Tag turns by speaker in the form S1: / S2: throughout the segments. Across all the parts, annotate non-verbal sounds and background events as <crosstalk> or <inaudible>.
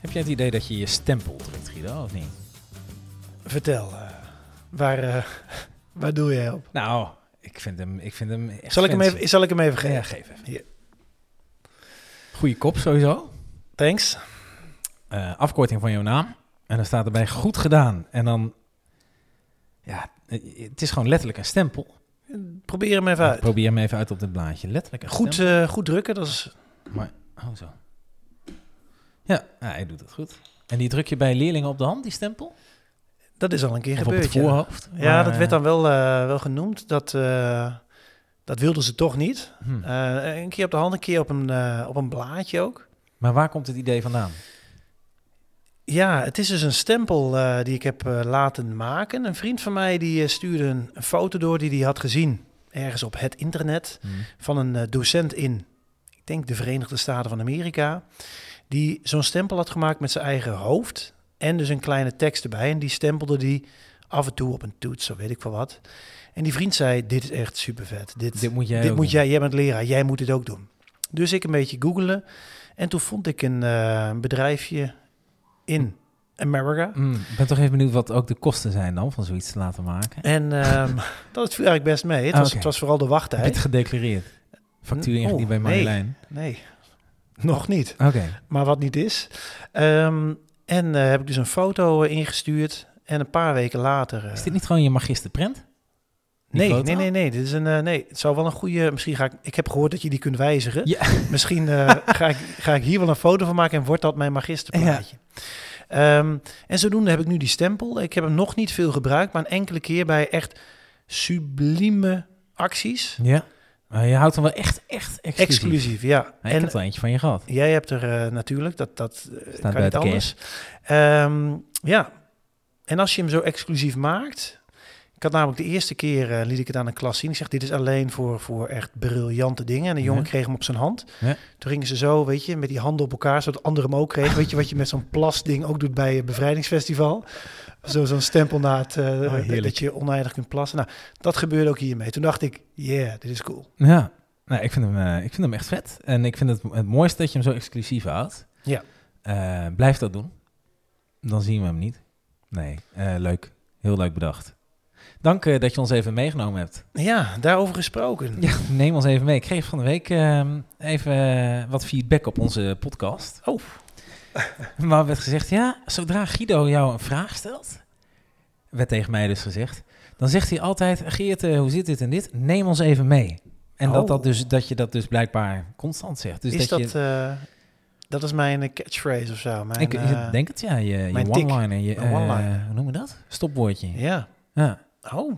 S1: Heb jij het idee dat je je stempel drukt, Guido, of niet?
S2: Vertel, eh, waar, eh, <laughs> waar doe jij op?
S1: Nou, ik vind hem, ik vind hem echt
S2: Zal ik, hem
S1: fancy.
S2: even, zal ik hem even
S1: Ja,
S2: geven?
S1: geef even.
S2: Hier.
S1: Goeie kop sowieso.
S2: Thanks.
S1: Eh, afkorting van jouw naam. En dan staat erbij goed gedaan. En dan, ja, eh, het is gewoon letterlijk een stempel.
S2: Probeer hem even uit.
S1: Probeer hem even uit op dit blaadje. Letterlijk een
S2: Goed,
S1: stempel.
S2: eh, goed drukken, dat is...
S1: Oh, zo. Ja, ja, hij doet het goed. En die druk je bij leerlingen op de hand, die stempel?
S2: Dat is al een keer
S1: Of op
S2: gebeurd.
S1: het
S2: ja.
S1: voorhoofd?
S2: Ja,
S1: Maar,
S2: dat werd
S1: eh,
S2: dan wel, eh, wel genoemd. Dat, eh, dat wilden ze toch niet.
S1: hm.
S2: Eh, een keer op de hand, een keer op een, eh, op een blaadje ook.
S1: Maar waar komt het idee vandaan?
S2: Ja, het is dus een stempel eh, die ik heb eh, laten maken. Een vriend van mij die eh, stuurde een, een foto door die hij had gezien. Ergens op het internet.
S1: Hm.
S2: van een eh, docent in, ik denk de Verenigde Staten van Amerika, die zo'n stempel had gemaakt met zijn eigen hoofd en dus een kleine tekst erbij. En die stempelde die af en toe op een toets, zo weet ik wel wat. En die vriend zei, dit is echt super vet. Dit,
S1: Dit moet jij
S2: dit
S1: ook
S2: moet
S1: doen.
S2: jij, jij bent leraar, jij moet dit ook doen. Dus ik een beetje googelen en toen vond ik een eh, bedrijfje in Amerika.
S1: Mm, Ik ben toch even benieuwd wat ook de kosten zijn dan van zoiets te laten maken.
S2: En ehm, <laughs> dat viel eigenlijk best mee. Het
S1: Ah,
S2: was,
S1: oké.
S2: het was vooral de
S1: Heb je het
S2: wachttijd.
S1: gedeclareerd? Factuur
S2: N-
S1: ingediend
S2: oh, Eh.
S1: bij
S2: nee.
S1: Marjolein?
S2: Nee, nog niet.
S1: Oké.
S2: maar wat niet is. Ehm, en eh, heb ik dus een foto eh, ingestuurd. En een paar weken later. eh,
S1: Is dit niet gewoon je magisterprint? die
S2: nee,
S1: foto?
S2: nee, nee, nee. Dit is een, eh, nee. Het zou wel een goede. Misschien ga ik. Ik heb gehoord dat je die kunt wijzigen.
S1: Ja. <laughs>
S2: Misschien eh, ga, ik, ga ik hier wel een foto van maken en wordt dat mijn magisterplaatje. Ehm, en zodoende heb ik nu die stempel. Ik heb hem nog niet veel gebruikt, maar een enkele keer bij echt sublieme acties.
S1: Ja. Maar je houdt hem wel echt, echt exclusief.
S2: Exclusief, ja.
S1: Nou, ik heb er eentje van je gehad.
S2: Jij hebt er eh, natuurlijk, dat, dat eh, kan niet
S1: buiten
S2: anders. Ehm, ja, en als je hem zo exclusief maakt... Ik had namelijk de eerste keer, eh, liet ik het aan een klas zien. Ik zeg, dit is alleen voor, voor echt briljante dingen. En de jongen
S1: Ja.
S2: kreeg hem op zijn hand.
S1: Ja.
S2: Toen gingen ze zo, weet je, met die handen op elkaar, zodat anderen hem ook kregen. Weet je wat je met zo'n plasding ook doet bij het bevrijdingsfestival? Zo- Zo'n stempel na het, eh,
S1: Oh, heerlijk.
S2: dat je oneindig kunt plassen. Nou, dat gebeurde ook hiermee. Toen dacht ik, yeah, dit is cool.
S1: Ja. Nou, ik vind, hem, eh, ik vind hem echt vet. En ik vind het het mooiste dat je hem zo exclusief houdt.
S2: Ja.
S1: Eh, blijf dat doen. Dan zien we hem niet. Nee, eh, leuk. Heel leuk bedacht. Dank eh, dat je ons even meegenomen hebt.
S2: Ja, daarover gesproken.
S1: Ja, neem ons even mee. Ik kreeg van de week ehm, even eh, wat feedback op onze podcast.
S2: Oh.
S1: <laughs> maar werd gezegd, ja, zodra Guido jou een vraag stelt, werd tegen mij dus gezegd, dan zegt hij altijd, Geert, eh, hoe zit dit en dit? Neem ons even mee. En dat,
S2: Oh.
S1: dat, dus, dat je dat dus blijkbaar constant zegt. Dus
S2: is dat,
S1: je,
S2: eh, dat is mijn eh, catchphrase of zo. Mijn,
S1: ik,
S2: eh,
S1: ik denk het, ja. Je, je
S2: mijn tik.
S1: one-liner. Je,
S2: Mijn one-liner.
S1: eh, hoe noemen we dat? Stopwoordje. Ja.
S2: Ja. Oh,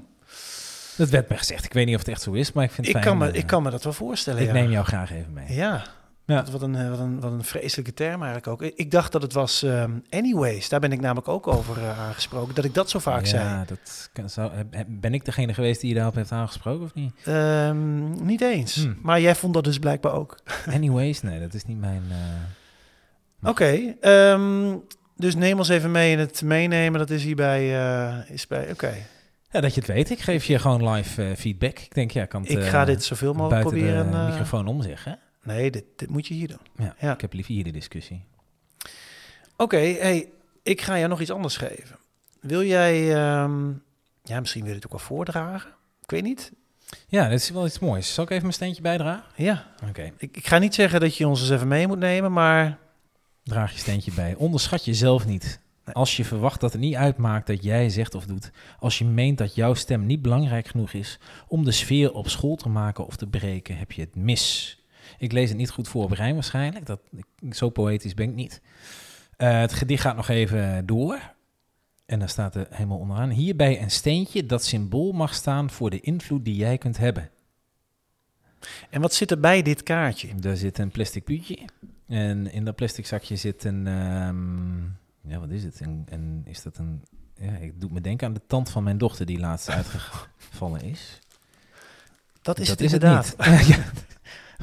S1: Dat werd me gezegd. Ik weet niet of het echt zo is, maar ik vind het
S2: ik
S1: fijn,
S2: kan, me,
S1: eh,
S2: ik kan me dat wel voorstellen.
S1: ik
S2: ja.
S1: neem jou graag even mee.
S2: Ja.
S1: Ja.
S2: Wat, wat een, eh, wat, een, wat een vreselijke term eigenlijk ook. Ik ik dacht dat het was ehm, anyways. Daar ben ik namelijk ook over eh, aangesproken. Dat ik dat zo vaak
S1: ja,
S2: zei.
S1: dat kan, zou, heb- heb- ben ik degene geweest die je daarop heeft aangesproken of
S2: <laughs>
S1: niet?
S2: Ehm, niet eens.
S1: Hmm.
S2: Maar jij vond dat dus blijkbaar ook.
S1: Anyways, nee, dat is niet mijn... eh,
S2: Oké. ehm, dus neem ons even mee in het meenemen. Dat is hierbij... eh, is bij. Oké.
S1: Ja, dat je het weet. Ik geef je gewoon live eh, feedback. Ik denk, ja, kan het,
S2: Ik
S1: eh,
S2: ga dit zoveel mogelijk
S1: buiten
S2: proberen.
S1: de
S2: eh,
S1: microfoon omzeggen.
S2: Nee, dit, dit moet je hier doen.
S1: Ja,
S2: ja.
S1: Ik heb liever hier de discussie.
S2: Oké, hey, ik ga jou nog iets anders geven. Wil jij, ehm, ja, misschien wil je het ook wel voordragen. Ik weet niet.
S1: Ja, dat is wel iets moois. Zal ik even mijn steentje bijdragen?
S2: Ja,
S1: Oké,
S2: ik, ik ga niet zeggen dat je ons eens even mee moet nemen, maar
S1: draag je steentje bij. Onderschat jezelf niet. Als je verwacht dat het niet uitmaakt dat jij zegt of doet. Als je meent dat jouw stem niet belangrijk genoeg is om de sfeer op school te maken of te breken, heb je het mis. Ik lees het niet goed voor op rijm waarschijnlijk. Dat, ik- zo poëtisch ben ik niet. Eh, het gedicht gaat nog even door. En dan staat er helemaal onderaan. Hierbij een steentje dat symbool mag staan voor de invloed die jij kunt hebben.
S2: en wat zit er bij dit kaartje?
S1: Daar zit een plastic puutje. En in dat plastic zakje zit een ehm, Ja, wat is het? En, en is dat een... Ja, ik doe me denken aan de tand van mijn dochter die laatst uitgevallen
S2: <laughs>
S1: is.
S2: Dat is het inderdaad.
S1: niet. <laughs> Ja,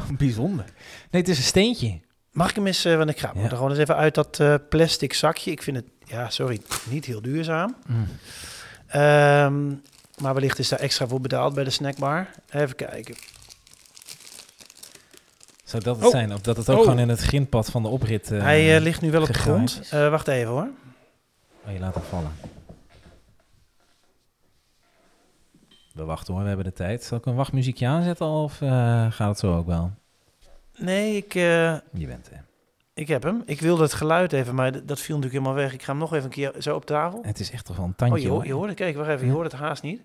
S2: <laughs>
S1: Bijzonder. Nee, het is een steentje.
S2: Mag ik hem eens, eh, want ik ga
S1: Ja.
S2: er gewoon eens even uit dat eh, plastic zakje. Ik vind het, ja, sorry, niet heel duurzaam. Ehm, maar wellicht is daar extra voor betaald bij de snackbar. Even kijken.
S1: Zou dat het
S2: Oh.
S1: zijn? Of dat het ook
S2: Oh.
S1: gewoon in het grindpad van de oprit... eh,
S2: Hij eh, ligt nu wel op de
S1: gegraaid
S2: grond.
S1: is.
S2: Eh, wacht even hoor.
S1: Oh, je laat hem vallen. We wachten hoor, we hebben de tijd. Zal ik een wachtmuziekje aanzetten of eh, gaat het zo ook wel?
S2: Nee, ik, eh,
S1: Je bent er.
S2: ik heb hem. Ik wilde het geluid even, maar d- dat viel natuurlijk helemaal weg. Ik ga hem nog even een keer zo op tafel.
S1: Het is echt toch wel een
S2: Oh,
S1: tandje
S2: je, ho-
S1: hoor.
S2: je hoort het. Kijk, wacht even. Je
S1: Ja.
S2: hoort het haast niet.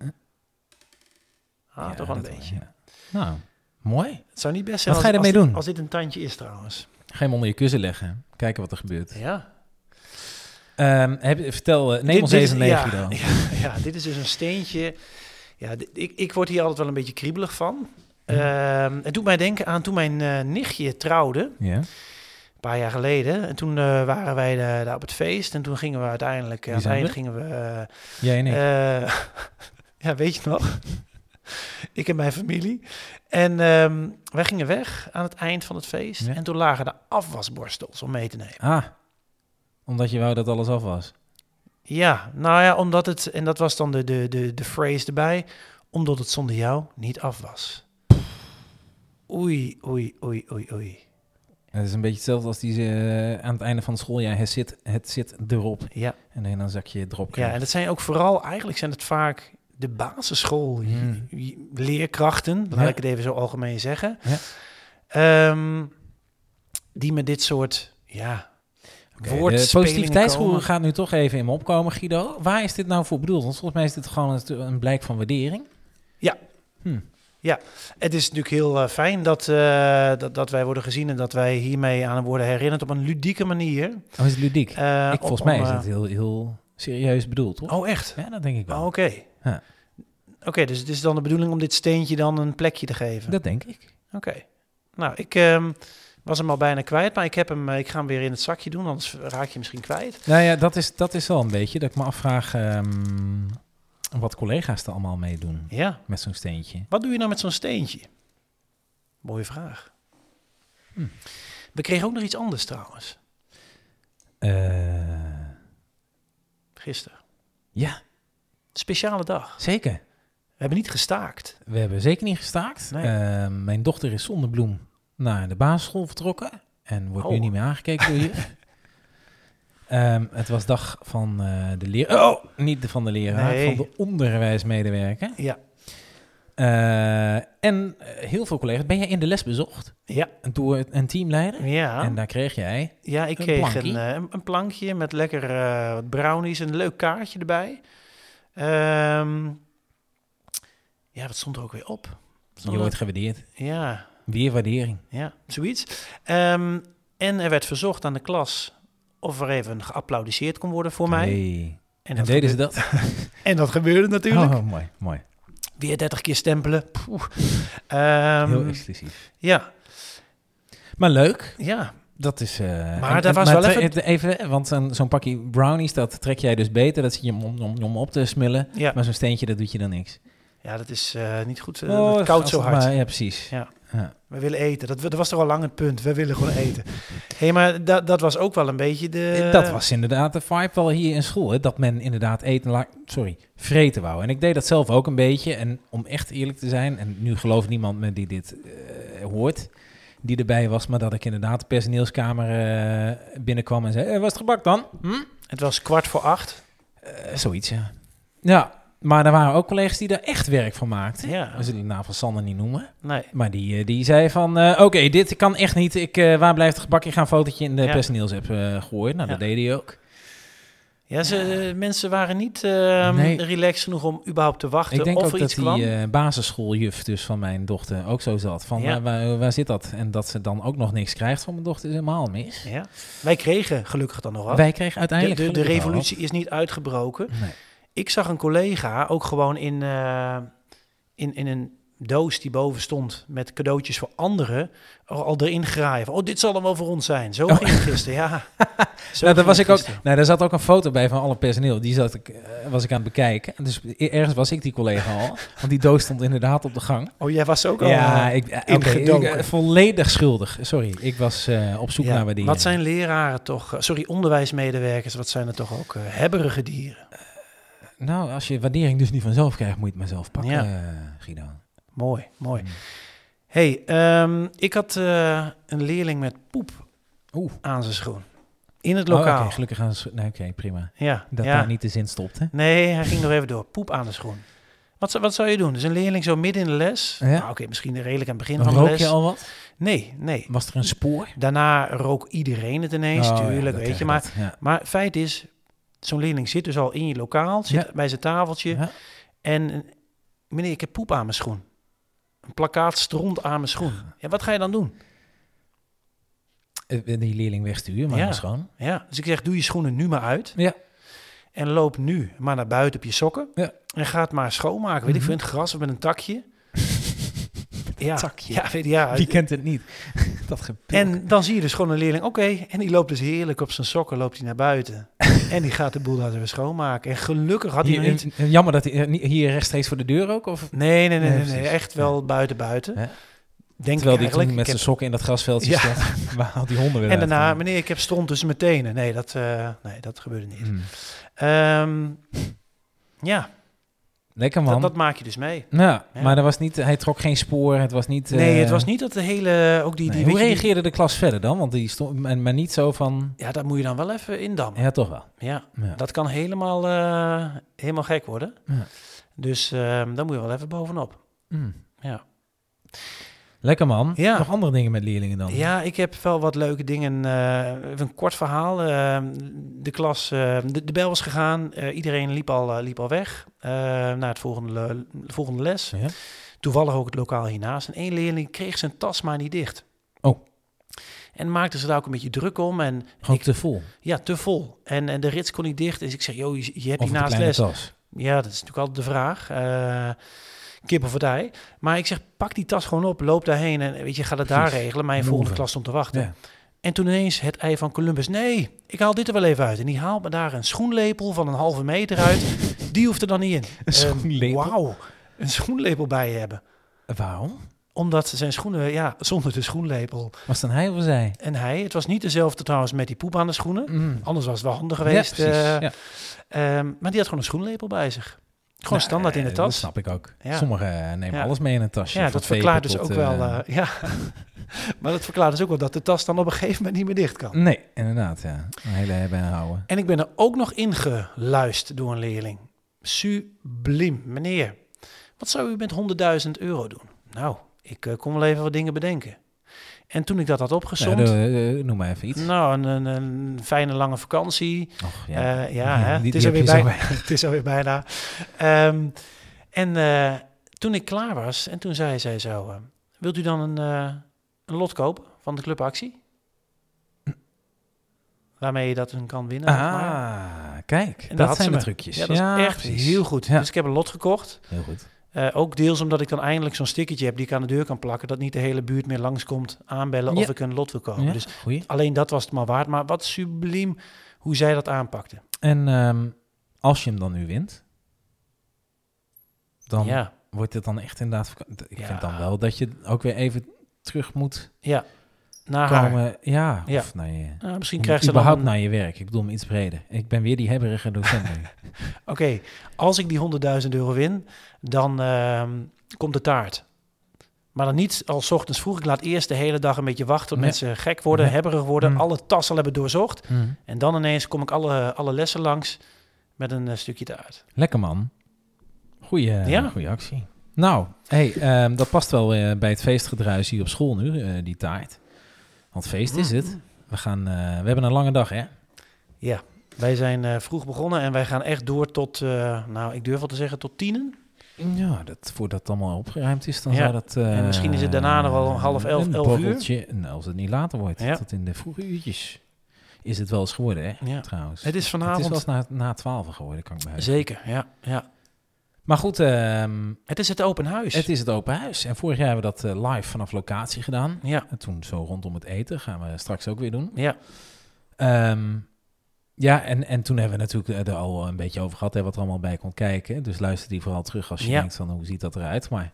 S2: Ah,
S1: Ja,
S2: toch wel een
S1: dat
S2: beetje.
S1: ja. Nou, mooi.
S2: Het zou niet best zijn
S1: Wat ga je
S2: als,
S1: ermee
S2: als,
S1: doen?
S2: als dit een tandje is trouwens.
S1: Ga je hem onder je kussen leggen. Kijken wat er gebeurt.
S2: Ja.
S1: Ehm, heb, je- vertel, eh, neem
S2: Dit-
S1: ons
S2: dit-
S1: even mee
S2: ja,
S1: Guido.
S2: Ja, ja, dit is dus een steentje. Ja, dit- ik, ik word hier altijd wel een beetje kriebelig van.
S1: Hm?
S2: Ehm, het doet mij denken aan toen mijn eh, nichtje trouwde, een
S1: Ja,
S2: paar jaar geleden. En toen eh, waren wij eh, daar op het feest en toen gingen we uiteindelijk... eh, aan
S1: Wie zijn
S2: het eind
S1: we?
S2: gingen we... eh,
S1: jij en ik.
S2: eh, <laughs> ja, weet je nog? <laughs> ik en mijn familie. En ehm, wij gingen weg aan het eind van het feest.
S1: Ja.
S2: En toen lagen de afwasborstels om mee te nemen.
S1: ah, omdat je wou dat alles af was.
S2: Ja, nou ja, omdat het, en dat was dan de, de, de, de phrase erbij, omdat het zonder jou niet af was. Oei, oei, oei, oei, oei.
S1: Het is een beetje hetzelfde als die ze eh, aan het einde van het schooljaar, het zit, het zit erop.
S2: Ja,
S1: En dan een zakje erop
S2: ja en
S1: krijgt.
S2: dat zijn ook vooral, eigenlijk zijn het vaak de basisschool
S1: Hmm.
S2: j- leerkrachten, laat
S1: Ja.
S2: ik het even zo algemeen zeggen,
S1: Ja.
S2: Ehm, die met dit soort, ja,
S1: Oké, de
S2: woordspelingen
S1: positiviteitsgoeroe
S2: komen.
S1: gaat nu toch even in me opkomen, Guido. Waar is dit nou voor bedoeld? Want volgens mij is dit gewoon een, een blijk van waardering.
S2: Het is natuurlijk heel eh, fijn dat, eh, dat, dat wij worden gezien en dat wij hiermee aan worden herinnerd op een ludieke manier.
S1: Oh, is het ludiek?
S2: Eh,
S1: ik,
S2: om-
S1: volgens mij
S2: om,
S1: is
S2: eh,
S1: het heel, heel serieus bedoeld, toch?
S2: Oh, echt?
S1: Ja, dat denk ik wel.
S2: Oh, oké.
S1: Ja.
S2: Oké, dus het is dan de bedoeling om dit steentje dan een plekje te geven?
S1: Dat denk ik.
S2: Oké. Nou, ik ehm, was hem al bijna kwijt, maar ik, heb hem, eh, ik ga hem weer in het zakje doen, anders raak je hem misschien kwijt.
S1: Nou ja, dat is, dat is wel een beetje dat ik me afvraag ehm, wat collega's er allemaal mee doen
S2: Ja.
S1: met zo'n steentje.
S2: Wat doe je nou met zo'n steentje? Mooie vraag.
S1: Hm.
S2: We kregen ook nog iets anders trouwens,
S1: Eh,
S2: gisteren.
S1: ja,
S2: Speciale dag.
S1: zeker.
S2: We hebben niet gestaakt.
S1: We hebben zeker niet gestaakt.
S2: Nee.
S1: Eh, mijn dochter is zonder bloem naar de basisschool vertrokken. En wordt nu
S2: Oh.
S1: niet meer aangekeken door je.
S2: <laughs>
S1: Ehm, het was dag van eh, de leraar. Oh, niet de van de leraar,
S2: Nee.
S1: van de onderwijsmedewerker.
S2: Ja.
S1: Eh, en eh, heel veel collega's. Ben jij in de les bezocht?
S2: Ja.
S1: Door een teamleider?
S2: Ja.
S1: En daar kreeg jij
S2: Ja, ik
S1: Een
S2: kreeg
S1: plankie?
S2: een, eh, een, een plankje met lekker eh, wat brownies, een leuk kaartje erbij. Ehm, ja, wat stond er ook weer op? Stond
S1: Je
S2: er-
S1: wordt gewaardeerd.
S2: Ja,
S1: Weer waardering.
S2: ja, zoiets. Ehm, en er werd verzocht aan de klas of er even geapplaudiceerd kon worden voor mij.
S1: Hey. En,
S2: dat
S1: deden ze
S2: gebeurde-
S1: dat?
S2: En dat gebeurde natuurlijk.
S1: Oh, mooi, mooi.
S2: Weer 30 keer stempelen. Poeh. Ehm,
S1: Heel exclusief.
S2: ja,
S1: Maar leuk.
S2: ja,
S1: Dat is... eh,
S2: Maar daar was wel
S1: tre- even... eh, Want zo'n, zo'n pakje brownies, dat trek jij dus beter. Dat zit je om, om, om op te smullen.
S2: ja.
S1: Maar zo'n steentje, dat doet je dan niks. Oh,
S2: ja, dat is eh, niet goed. eh, dat het koud
S1: als
S2: zo
S1: het
S2: hard.
S1: maar- ja, precies.
S2: Ja. We willen eten. Dat, dat was toch al lang het punt. We willen gewoon eten. hey, maar dat, dat was ook wel een beetje de...
S1: Eh, dat was inderdaad de vibe wel hier in school. Hè? Dat men inderdaad eten, la- sorry, vreten wou. En ik deed dat zelf ook een beetje. En om echt eerlijk te zijn, en nu gelooft niemand me die dit eh, hoort, die erbij was, maar dat ik inderdaad de personeelskamer eh, binnenkwam en zei: "Eh, Was het gebak dan? Hm?
S2: Het was kwart voor acht.
S1: Eh, zoiets, ja. Ja, maar er waren ook collega's die daar echt werk van maakten.
S2: Ja.
S1: We zullen de naam van Sander niet noemen.
S2: Nee.
S1: Maar die, eh, die zei van, eh, oké, dit kan echt niet. Ik, eh, waar blijft het gebak? Ik ga een fotootje in de
S2: Ja.
S1: personeelsapp eh, gooien. Nou, dat
S2: Ja.
S1: deed hij ook.
S2: Ja, ze, eh, mensen waren niet ehm
S1: Nee.
S2: relaxed genoeg om überhaupt te wachten
S1: Ik denk
S2: of
S1: ook
S2: er
S1: dat
S2: iets
S1: die
S2: kwam.
S1: eh, basisschooljuf dus van mijn dochter ook zo zat. Van
S2: Ja.
S1: waar, waar, waar zit dat? En dat ze dan ook nog niks krijgt van mijn dochter is helemaal mis.
S2: ja. Wij kregen gelukkig dan nog wat.
S1: Wij kregen
S2: de,
S1: uiteindelijk...
S2: de, de
S1: gelukkig wel
S2: revolutie is niet uitgebroken.
S1: wat. Nee.
S2: Ik zag een collega ook gewoon in, eh, in, in een doos die boven stond met cadeautjes voor anderen al, al erin graaien. Van, oh, dit zal hem wel voor ons zijn. Zo ging het gisteren, <laughs> ja. Zo
S1: Nou, daar,
S2: ging
S1: was
S2: het
S1: ik ook,
S2: gisteren.
S1: nou, daar zat ook een foto bij van alle personeel. Die zat ik, eh, was ik aan het bekijken. En Dus e- ergens was ik die collega al. Want die doos stond inderdaad op de gang.
S2: Oh, jij was ook al...
S1: ja,
S2: eh,
S1: ik, eh, oké, ik, eh,
S2: ingedoken.
S1: volledig schuldig. Sorry, ik was eh, op zoek
S2: ja.
S1: naar waardering.
S2: Wat zijn leraren toch... eh, Sorry, onderwijsmedewerkers, wat zijn er toch ook eh, hebberige dieren.
S1: Nou, als je waardering dus niet vanzelf krijgt, moet je het maar zelf pakken,
S2: Ja.
S1: eh, Guido.
S2: Mooi, mooi.
S1: Mm.
S2: hey, ehm, ik had eh, een leerling met poep
S1: Oeh.
S2: aan zijn schoen. In het
S1: Oh,
S2: lokaal.
S1: oké, gelukkig gaan ze... Nee, oké, prima.
S2: ja,
S1: Dat
S2: ja.
S1: daar niet de zin stopt, hè?
S2: Nee, hij ging nog even door. Poep aan de schoen. Wat, zou- wat zou je doen? Dus een leerling zo midden in de les.
S1: Ja.
S2: Nou, Oké, misschien redelijk aan het begin van de
S1: Rook
S2: les.
S1: je al wat?
S2: Nee, nee.
S1: Was er een spoor?
S2: Daarna rook iedereen het ineens,
S1: Oh, ja, dat
S2: tuurlijk, weet
S1: krijg
S2: je. Maar,
S1: dat, ja.
S2: maar feit is, zo'n leerling zit dus al in je lokaal, zit
S1: Ja.
S2: bij zijn tafeltje.
S1: Ja.
S2: En eh, meneer, ik heb poep aan mijn schoen. Een plakkaat stront aan mijn schoen. Ja, wat ga je dan doen?
S1: Eh, Die leerling wegsturen, maar
S2: Ja.
S1: dat is gewoon...
S2: Ja, dus ik zeg, doe je schoenen nu maar uit.
S1: Ja.
S2: En loop nu maar naar buiten op je sokken.
S1: Ja.
S2: En ga het maar schoonmaken. Weet
S1: Mhm.
S2: ik veel, in het gras of met een
S1: <laughs>
S2: takje. ja.
S1: takje.
S2: Ja, weet je, ja.
S1: Wie kent het niet? <laughs> dat gepil.
S2: En dan zie je dus gewoon een leerling, oké. en die loopt dus heerlijk op zijn sokken, loopt hij naar
S1: <laughs>
S2: buiten. en die gaat de boel daar weer schoonmaken. En gelukkig had hij
S1: Hier,
S2: nog niet...
S1: eh, Jammer dat hij eh, niet- hier rechtstreeks voor de deur ook? Of?
S2: Nee, nee, nee,
S1: Nee,
S2: nee, nee,
S1: precies.
S2: echt wel buiten, buiten.
S1: Ja. Terwijl
S2: Denk ik
S1: die toen
S2: eigenlijk.
S1: met
S2: Ik
S1: zijn
S2: heb-
S1: sokken in dat grasveldje
S2: Ja.
S1: stond. <laughs> Waar had die honden weer
S2: En daarna,
S1: uitgehaald?
S2: meneer, ik heb stront tussen mijn tenen. Nee, dat, eh, nee, dat gebeurde
S1: <laughs>
S2: niet.
S1: Mm.
S2: Ehm, ja,
S1: Lekker man.
S2: dat, dat maak je dus mee.
S1: Nou,
S2: Ja.
S1: maar er was niet, hij trok geen spoor. Het was niet... eh,
S2: Nee, het was niet dat de hele... Ook die,
S1: nee.
S2: die,
S1: Hoe
S2: weet je, die-
S1: reageerde de klas verder dan? Want die stond... Maar maar niet zo van...
S2: Ja, dat moet je dan wel even indammen.
S1: Ja, toch wel.
S2: Ja,
S1: Ja.
S2: dat kan helemaal, eh, helemaal gek worden.
S1: Ja.
S2: Dus ehm daar moet je wel even bovenop.
S1: Mm.
S2: Ja.
S1: Lekker man.
S2: Ja.
S1: Nog andere dingen met leerlingen dan?
S2: Ja, ik heb wel wat leuke dingen. eh, even een kort verhaal. Eh, de klas, eh, de, de bel was gegaan. Eh, iedereen liep al, eh, liep al weg eh, naar het volgende, le- volgende les.
S1: Ja.
S2: Toevallig ook het lokaal hiernaast. En één leerling kreeg zijn tas maar niet dicht.
S1: Oh.
S2: En maakte ze daar ook een beetje druk om. En
S1: Gewoon te vol.
S2: ja, te vol. En, en de rits kon niet dicht. Dus ik zeg, joh, je, je hebt
S1: Of
S2: die
S1: een
S2: naast
S1: kleine
S2: les.
S1: tas.
S2: Ja, dat is natuurlijk altijd de vraag. eh kip of het ei. Maar ik zeg, pak die tas gewoon op, loop daarheen en weet je, ga het daar
S1: Precies.
S2: regelen. Mijn
S1: Move
S2: volgende
S1: it.
S2: klas stond te wachten.
S1: Ja.
S2: En toen ineens het ei van Columbus. Nee, ik haal dit er wel even uit. En die haalt me daar een schoenlepel van een halve meter uit. die hoeft er dan niet in.
S1: <laughs> Een
S2: Ehm,
S1: schoenlepel?
S2: Wauw, een schoenlepel bij je hebben.
S1: Waarom?
S2: Omdat zijn schoenen, ja, zonder de schoenlepel.
S1: Was het dan hij of zij?
S2: En hij, het was niet dezelfde trouwens met die poep aan de schoenen.
S1: Mm.
S2: Anders was het wel handig
S1: Ja,
S2: geweest.
S1: precies.
S2: eh,
S1: Ja.
S2: ehm, maar die had gewoon een schoenlepel bij zich. Gewoon
S1: Nou,
S2: standaard in de
S1: eh,
S2: tas.
S1: Dat snap ik ook.
S2: Ja.
S1: Sommigen eh, nemen
S2: Ja.
S1: alles mee in een tasje.
S2: Ja,
S1: van
S2: dat verklaart
S1: tepel
S2: dus ook
S1: tot,
S2: wel.
S1: eh,
S2: eh, ja. <laughs> maar dat verklaart dus ook wel dat de tas dan op een gegeven moment niet meer dicht kan.
S1: Nee, inderdaad. Ja. Een hele hebben en houden.
S2: En ik ben er ook nog ingeluist door een leerling. Subliem. Meneer, wat zou u met 100.000 euro doen? Nou, ik eh, kon wel even wat dingen bedenken. En toen ik dat had
S1: Nou,
S2: opgezond,
S1: doe- eh, noem maar even iets.
S2: nou, een, een, een fijne lange vakantie.
S1: Och,
S2: Eh,
S1: ja.
S2: Ja,
S1: Ja,
S2: hè?
S1: die-
S2: het,
S1: die
S2: is
S1: heb
S2: alweer
S1: je zo
S2: bijna, <laughs> het is alweer bijna. Ehm, en eh, toen ik klaar was, en toen zei zij zo... eh, wilt u dan een, eh, een lot kopen van de clubactie? Waarmee je dat dan kan winnen. zeg nou, maar.
S1: ah, kijk.
S2: En daar
S1: Dat
S2: had
S1: zijn
S2: ze
S1: de
S2: me.
S1: trucjes.
S2: Ja, dat is echt
S1: precies.
S2: heel goed.
S1: Ja.
S2: Dus ik heb een lot gekocht.
S1: Heel goed.
S2: Eh, ook deels omdat ik dan eindelijk zo'n stickertje heb die ik aan de deur kan plakken. Dat niet de hele buurt meer langskomt aanbellen
S1: Ja.
S2: of ik een lot wil kopen.
S1: Ja,
S2: Dus
S1: goeie.
S2: alleen dat was het maar waard. Maar wat subliem hoe zij dat aanpakte.
S1: En ehm, als je hem dan nu wint, dan
S2: Ja,
S1: wordt het dan echt inderdaad... vaka- Ik
S2: Ja.
S1: vind dan wel dat je ook weer even terug moet
S2: naar haar.
S1: komen. Ja,
S2: Ja.
S1: of naar je...
S2: Nou, misschien
S1: Om
S2: krijgt ze dan
S1: überhaupt
S2: een-
S1: naar je werk. Ik bedoel hem iets breder. Ik ben weer die hebberige docent.
S2: <laughs>
S1: nu.
S2: Oké, als ik die 100.000 euro win, dan ehm, komt de taart. Maar dan niet al 's ochtends vroeg. Ik laat eerst de hele dag een beetje wachten tot
S1: Nee.
S2: mensen gek worden,
S1: Nee.
S2: hebberig worden,
S1: Mm.
S2: alle tassen al hebben doorzocht.
S1: Mm.
S2: En dan ineens kom ik alle, alle lessen langs met een eh, stukje taart.
S1: Lekker man. Goeie, eh,
S2: Ja.
S1: goeie actie. Nou, hey, ehm, dat past wel eh, bij het feestgedruis hier op school nu, eh, die taart. Want feest is
S2: Mhm.
S1: het. We, gaan, eh, we hebben een lange dag, hè?
S2: Ja, wij zijn eh, vroeg begonnen en wij gaan echt door tot, eh, nou, ik durf wel te zeggen, tot tienen.
S1: Ja, dat, voordat het allemaal opgeruimd is, dan
S2: Ja.
S1: zou dat... eh,
S2: En misschien is het daarna nog wel om half elf,
S1: een
S2: elf uur.
S1: borreltje. Nou, als het niet later wordt,
S2: Ja.
S1: tot in de vroege uurtjes is het wel eens geworden, hè?
S2: Ja.
S1: Trouwens. Het
S2: Het is
S1: is wel
S2: vanavond.
S1: eens na, na twaalf geworden, kan ik me heugen.
S2: Zeker, ja, ja.
S1: Maar goed, ehm,
S2: Het is het open huis.
S1: het is het open huis. En vorig jaar hebben we dat eh, live vanaf locatie gedaan.
S2: Ja,
S1: En toen zo rondom het eten gaan we straks ook weer doen.
S2: ja,
S1: Ehm, ja, en, en toen hebben we natuurlijk eh, er al een beetje over gehad, hè, wat er allemaal bij kon kijken. Dus luister die vooral terug als je
S2: Ja.
S1: denkt van hoe ziet dat eruit. Maar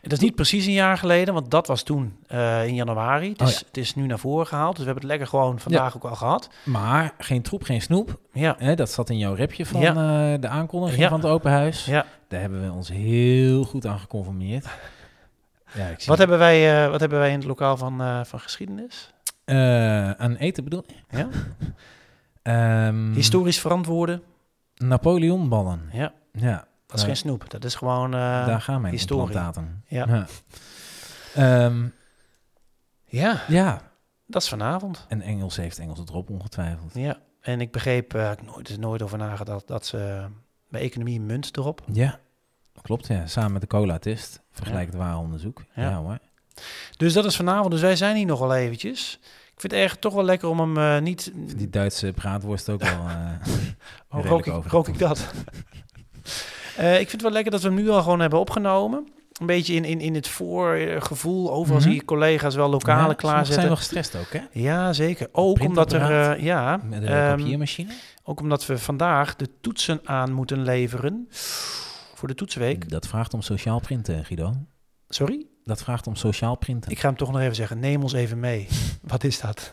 S2: het is niet precies een jaar geleden, want dat was toen eh, in januari. Het
S1: Oh,
S2: is, het is nu naar voren gehaald, dus we hebben het lekker gewoon vandaag ook al gehad.
S1: Maar geen troep, geen snoep.
S2: Ja,
S1: Hè, dat zat in jouw repje van eh, de aankondiging
S2: Ja.
S1: van het open huis.
S2: ja.
S1: Daar hebben we ons heel goed aan geconformeerd. Ja, ik zie
S2: Wat, hebben wij, eh, wat hebben wij in het lokaal van, eh, van geschiedenis?
S1: Eh, aan eten bedoel je?
S2: Ja.
S1: <laughs> Ehm,
S2: Historisch verantwoorden.
S1: Napoleonballen.
S2: Ja,
S1: Ja,
S2: dat is
S1: Eh,
S2: geen snoep. Dat is gewoon... eh,
S1: daar gaan mijn
S2: historie.
S1: implantaten.
S2: Ja.
S1: Ja. Ehm,
S2: ja,
S1: ja,
S2: dat is vanavond.
S1: en Engels heeft Engelse drop ongetwijfeld.
S2: Ja, en ik begreep, eh, ik nooit, er nooit over nagedacht, dat ze eh, bij economie munt erop.
S1: Ja, klopt. Ja. Samen met de cola-test. Vergelijkend waar onderzoek. Ja.
S2: Ja.
S1: hoor.
S2: Dus dat is vanavond, dus wij zijn hier nog wel eventjes. Ik vind het echt toch wel lekker om hem eh, niet...
S1: Ik vind Die Duitse praatworst ook wel... eh,
S2: Oh,
S1: redelijk
S2: rook, ik,
S1: over.
S2: rook ik dat? <laughs> Eh, ik vind het wel lekker dat we hem nu al gewoon hebben opgenomen. Een beetje in, in, in het voorgevoel. Overal
S1: Mhm.
S2: zie je collega's wel lokale
S1: Ja, sommigen
S2: klaarzetten.
S1: zijn wel gestrest ook, hè?
S2: Ja, zeker. Ook omdat, er,
S1: Printapparaat.
S2: eh, ja,
S1: Met een
S2: ehm,
S1: papiermachine.
S2: ook omdat we vandaag de toetsen aan moeten leveren. Voor de toetsweek.
S1: Dat vraagt om sociaal printen, Guido.
S2: Sorry?
S1: Dat vraagt om sociaal printen.
S2: Ik ga hem toch nog even zeggen. Neem ons even
S1: <laughs>
S2: mee. Wat is dat?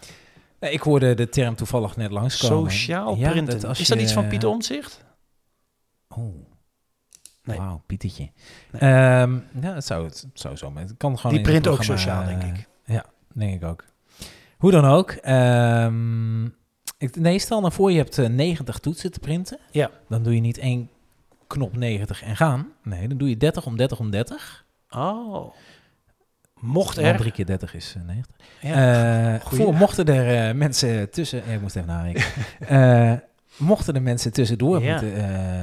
S1: Nee, ik hoorde de term toevallig net langskomen.
S2: Sociaal
S1: Ja,
S2: printen.
S1: dat als
S2: is dat
S1: je- eh,
S2: iets van Pieter Omtzigt?
S1: Oh.
S2: Nee.
S1: Wauw, Pietertje.
S2: Nee.
S1: Ehm, ja, het zou, het zou zo. Maar het kan gewoon
S2: Die
S1: in het
S2: print ook
S1: programma,
S2: sociaal, denk
S1: eh,
S2: ik.
S1: Ja, denk ik ook. Hoe dan ook. ehm, ik, nee, stel nou voor je hebt eh, 90 toetsen te printen.
S2: Ja.
S1: Dan doe je niet één knop 90 en gaan. Nee, dan doe je 30 om 30 om 30.
S2: Oh. Mocht
S1: Want
S2: er.
S1: drie keer 30 is eh, 90.
S2: Ja.
S1: Eh,
S2: goeie.
S1: voor mochten er eh, mensen tussen... ja, ik moest even
S2: <laughs>
S1: nadenken. Eh, mochten er mensen tussendoor
S2: Ja.
S1: moeten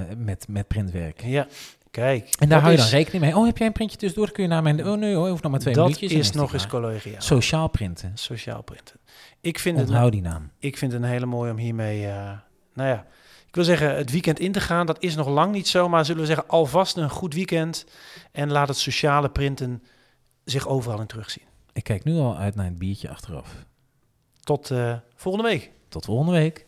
S1: eh, met, met printwerk.
S2: Ja, kijk.
S1: eh, En daar
S2: dat
S1: hou je dan
S2: is-
S1: rekening mee. Oh, heb jij een printje tussendoor? Dan kun je naar mijn... Oh, nee hoor, hoeft nog maar twee
S2: Dat
S1: minuutjes. en
S2: is
S1: die
S2: nog eens
S1: klaar.
S2: collegiaal.
S1: Sociaal printen.
S2: Sociaal printen. Ik vind, het,
S1: Onthoud die naam.
S2: ik vind het een hele mooie om hiermee... eh, nou ja, ik wil zeggen, het weekend in te gaan, dat is nog lang niet zo. Maar zullen we zeggen, alvast een goed weekend. En laat het sociale printen zich overal in terugzien.
S1: Ik kijk nu al uit naar het biertje achteraf.
S2: Tot eh, volgende week.
S1: Tot volgende week.